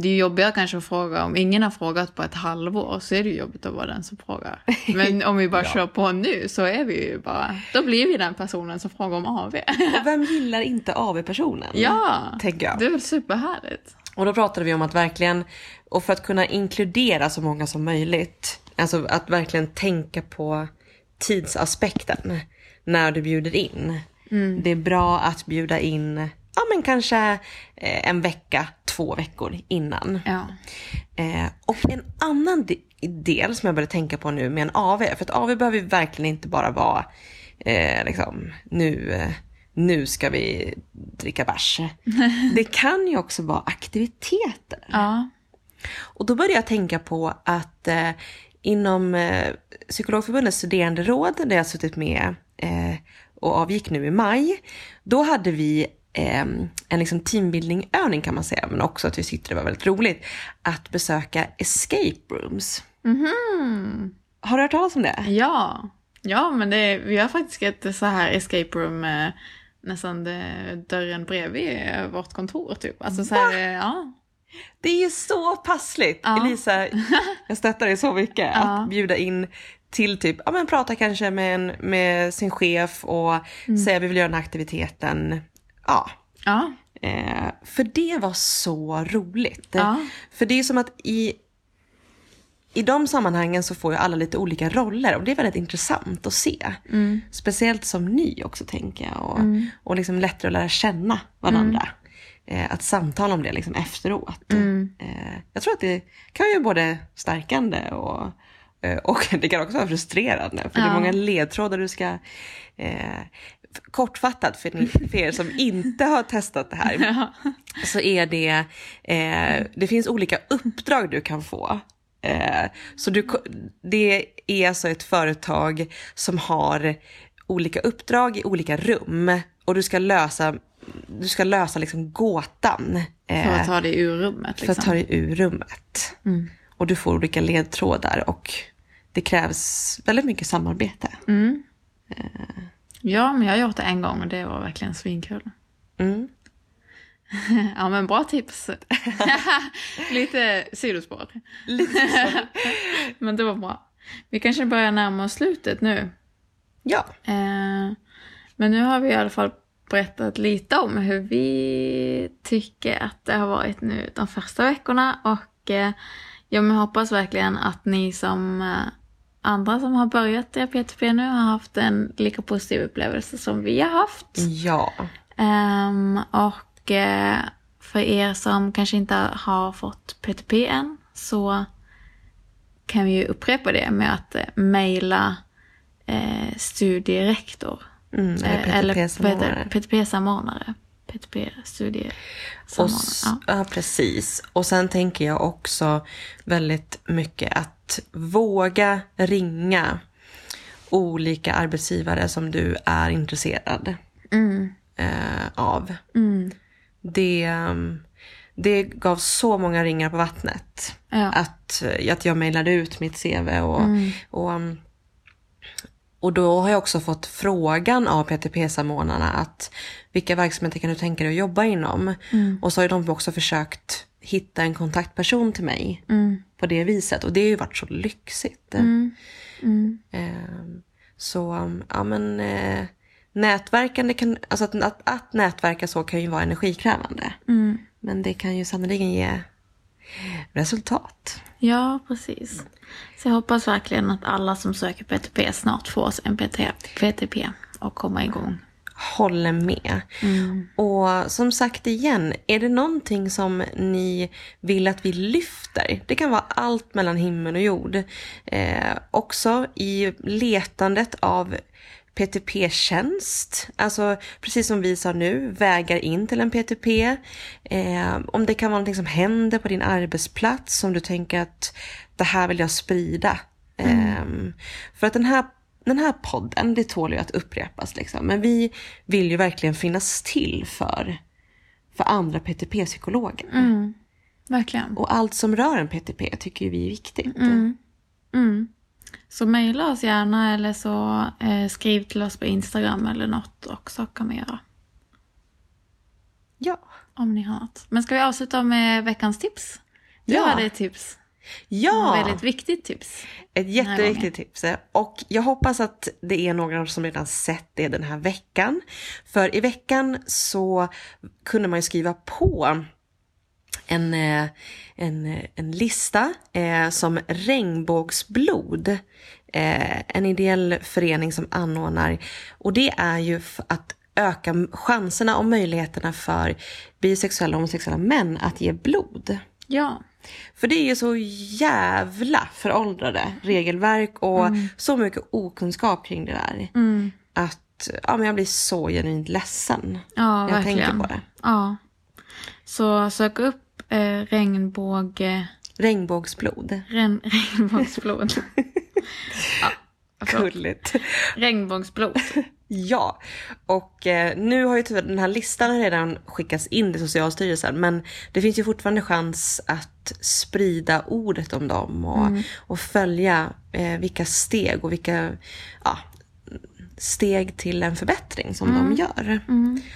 [SPEAKER 1] Det är ju jobbigare kanske att fråga, om ingen har frågat på ett halvår så är det ju jobbigt att vara den som frågar. Men om vi bara kör på nu så är vi ju bara, då blir vi den personen som frågar om AV.
[SPEAKER 2] Och vem gillar inte AV-personen?
[SPEAKER 1] ja,
[SPEAKER 2] Tänker jag.
[SPEAKER 1] det är väl superhärligt.
[SPEAKER 2] Och då pratade vi om att verkligen, och för att kunna inkludera så många som möjligt, alltså att verkligen tänka på tidsaspekten när du bjuder in. Det är bra att bjuda in, ja men kanske eh, en vecka, två veckor innan.
[SPEAKER 1] Ja.
[SPEAKER 2] Eh, och en annan de- del som jag började tänka på nu med en AV, för att AV behöver ju verkligen inte bara vara eh, liksom, nu, eh, nu ska vi dricka bärs. Det kan ju också vara aktiviteter.
[SPEAKER 1] Ja.
[SPEAKER 2] Och då började jag tänka på att eh, inom eh, Psykologförbundets studeranderåd, där jag suttit med eh, och avgick nu i maj, då hade vi eh, en liksom teambuilding-övning kan man säga, men också att vi tyckte det var väldigt roligt, att besöka escape rooms.
[SPEAKER 1] Mhm.
[SPEAKER 2] Har du hört talas om det?
[SPEAKER 1] Ja. Ja, men det, vi har faktiskt ett så här escape room eh, nästan det, dörren bredvid eh, vårt kontor typ. Alltså så här, eh, ja.
[SPEAKER 2] Det är ju så passligt!
[SPEAKER 1] Ja.
[SPEAKER 2] Elisa, jag stöttar dig så mycket.
[SPEAKER 1] Ja.
[SPEAKER 2] Att bjuda in till typ, ja men prata kanske med, en, med sin chef och
[SPEAKER 1] Mm.
[SPEAKER 2] säga vi vill göra den här aktiviteten. Ja,
[SPEAKER 1] Ja.
[SPEAKER 2] Eh, för det var så roligt.
[SPEAKER 1] Ja.
[SPEAKER 2] För det är som att i, i de sammanhangen så får ju alla lite olika roller och det är väldigt intressant att se. Speciellt som ny också tänker jag och, och liksom lättare att lära känna varandra. Eh, att samtala om det liksom efteråt.
[SPEAKER 1] Mm.
[SPEAKER 2] Eh, jag tror att det kan ju både stärkande och eh, och det kan också vara frustrerande för det är
[SPEAKER 1] Ja.
[SPEAKER 2] många ledtrådar du ska... Eh, kortfattat för, ni, för er som inte har testat det här
[SPEAKER 1] Mm. Ja.
[SPEAKER 2] så är det, eh, det finns olika uppdrag du kan få. Eh, så du, ko- det är alltså ett företag som har olika uppdrag i olika rum och du ska lösa, du ska lösa liksom gåtan eh,
[SPEAKER 1] För att ta det ur rummet
[SPEAKER 2] för att
[SPEAKER 1] liksom.
[SPEAKER 2] ta dig ur rummet. Och du får olika ledtrådar och det krävs väldigt mycket samarbete.
[SPEAKER 1] Mm. Ja, men jag har gjort det en gång och det var verkligen svinkul.
[SPEAKER 2] Mm.
[SPEAKER 1] Ja, men bra tips. Lite sidospår.
[SPEAKER 2] Lite så.
[SPEAKER 1] Men det var bra. Vi kanske börjar närma oss slutet nu.
[SPEAKER 2] Ja,
[SPEAKER 1] Eh, Men nu har vi i alla fall berättat lite om hur vi tycker att det har varit nu de första veckorna och eh, jag hoppas verkligen att ni som eh, andra som har börjat i P2P nu har haft en lika positiv upplevelse som vi har haft.
[SPEAKER 2] ja.
[SPEAKER 1] Ehm, och eh, för er som kanske inte har fått PTP än så kan vi ju upprepa det med att eh, mejla eh, studierektor.
[SPEAKER 2] Mm, eller
[SPEAKER 1] eh,
[SPEAKER 2] PTP-samordnare.
[SPEAKER 1] PTP-samordnare. PTP-studiesamordnare.
[SPEAKER 2] Och, s-
[SPEAKER 1] ja.
[SPEAKER 2] ja, precis. Och sen tänker jag också väldigt mycket att våga ringa olika arbetsgivare som du är intresserad
[SPEAKER 1] Mm,
[SPEAKER 2] eh, av.
[SPEAKER 1] mm,
[SPEAKER 2] Det, ehm, det gav så många ringar på vattnet.
[SPEAKER 1] ja.
[SPEAKER 2] Att, eh, att jag mejlade ut mitt CV och,
[SPEAKER 1] Mm.
[SPEAKER 2] och, ehm, och då har jag också fått frågan av PTP-samordnarna att vilka verksamheter kan du tänka dig att jobba inom?
[SPEAKER 1] Mm,
[SPEAKER 2] Och så har ju de också försökt hitta en kontaktperson till mig
[SPEAKER 1] mm,
[SPEAKER 2] på det viset. Och det har ju varit så lyxigt.
[SPEAKER 1] mm, mm,
[SPEAKER 2] Ehm, Så um, ja men eh, nätverkande kan, alltså att, att, att nätverka så kan ju vara energikrävande.
[SPEAKER 1] mm.
[SPEAKER 2] Men det kan ju sannerligen ge resultat.
[SPEAKER 1] Ja, precis. Så jag hoppas verkligen att alla som söker PTP snart får en PT, PTP och komma
[SPEAKER 2] Mm.
[SPEAKER 1] igång.
[SPEAKER 2] Håller med. Och som sagt igen, är det någonting som ni vill att vi lyfter? Det kan vara allt mellan himmel och jord. Eh, också i letandet av PTP-tjänst, alltså precis som vi sa nu, vägar in till en PTP. Eh, om det kan vara någonting som händer på din arbetsplats som du tänker att det här vill jag sprida. Ehm, för att den här den här podden, det tål ju att upprepas liksom, men vi vill ju verkligen finnas till för, för andra PTP-psykologer.
[SPEAKER 1] Mm. Verkligen.
[SPEAKER 2] Och allt som rör en PTP tycker ju vi är viktigt.
[SPEAKER 1] Mm. Mm. Så mejla oss gärna eller så eh, skriv till oss på Instagram eller något också kan man göra.
[SPEAKER 2] Ja.
[SPEAKER 1] Om ni har något. Men ska vi avsluta med veckans tips? Du
[SPEAKER 2] Ja.
[SPEAKER 1] hade ett tips. Ett
[SPEAKER 2] ja,
[SPEAKER 1] väldigt viktigt tips.
[SPEAKER 2] ett jätteviktigt tips. Och jag hoppas att det är några som redan sett det den här veckan. För i veckan så kunde man ju skriva på en, eh, en, eh, en lista eh, som Regnbågsblod, eh, en ideell förening som anordnar. Och det är ju f- att öka m- chanserna och möjligheterna för bisexuella och homosexuella män att ge blod.
[SPEAKER 1] Ja.
[SPEAKER 2] För det är ju så jävla föråldrade regelverk och så mycket okunskap kring det där.
[SPEAKER 1] Mm.
[SPEAKER 2] Att ja, men jag blir så genuint ledsen
[SPEAKER 1] Ja,
[SPEAKER 2] när jag
[SPEAKER 1] verkligen.
[SPEAKER 2] tänker på det.
[SPEAKER 1] Ja. Så sök upp eh, regnbåg, eh,
[SPEAKER 2] Regnbågsblod.
[SPEAKER 1] ren, regnbågsblod. ja, förlåt.
[SPEAKER 2] Gulligt.
[SPEAKER 1] regnbågsblod.
[SPEAKER 2] Ja, och eh, nu har ju tyvärr den här listan redan skickats in till Socialstyrelsen men det finns ju fortfarande chans att sprida ordet om dem och,
[SPEAKER 1] Mm.
[SPEAKER 2] och följa eh, vilka steg och vilka ja, steg till en förbättring som
[SPEAKER 1] Mm.
[SPEAKER 2] de gör.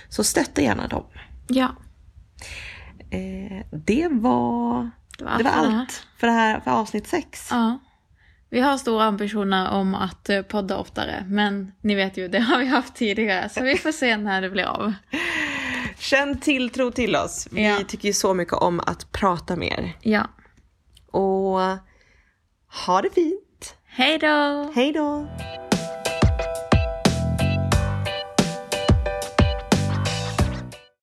[SPEAKER 2] Så stötta gärna dem.
[SPEAKER 1] Ja,
[SPEAKER 2] Eh, det var,
[SPEAKER 1] det var, för
[SPEAKER 2] det var
[SPEAKER 1] det här.
[SPEAKER 2] allt för, det här, för avsnitt sex.
[SPEAKER 1] Ja. Vi har stora ambitioner om att eh, podda oftare, men ni vet ju, det har vi haft tidigare, så vi får se när det blir av.
[SPEAKER 2] Känn tilltro till oss. Vi
[SPEAKER 1] Ja.
[SPEAKER 2] tycker ju så mycket om att prata med er.
[SPEAKER 1] Ja,
[SPEAKER 2] Och ha det fint!
[SPEAKER 1] hej då!
[SPEAKER 2] Hej då!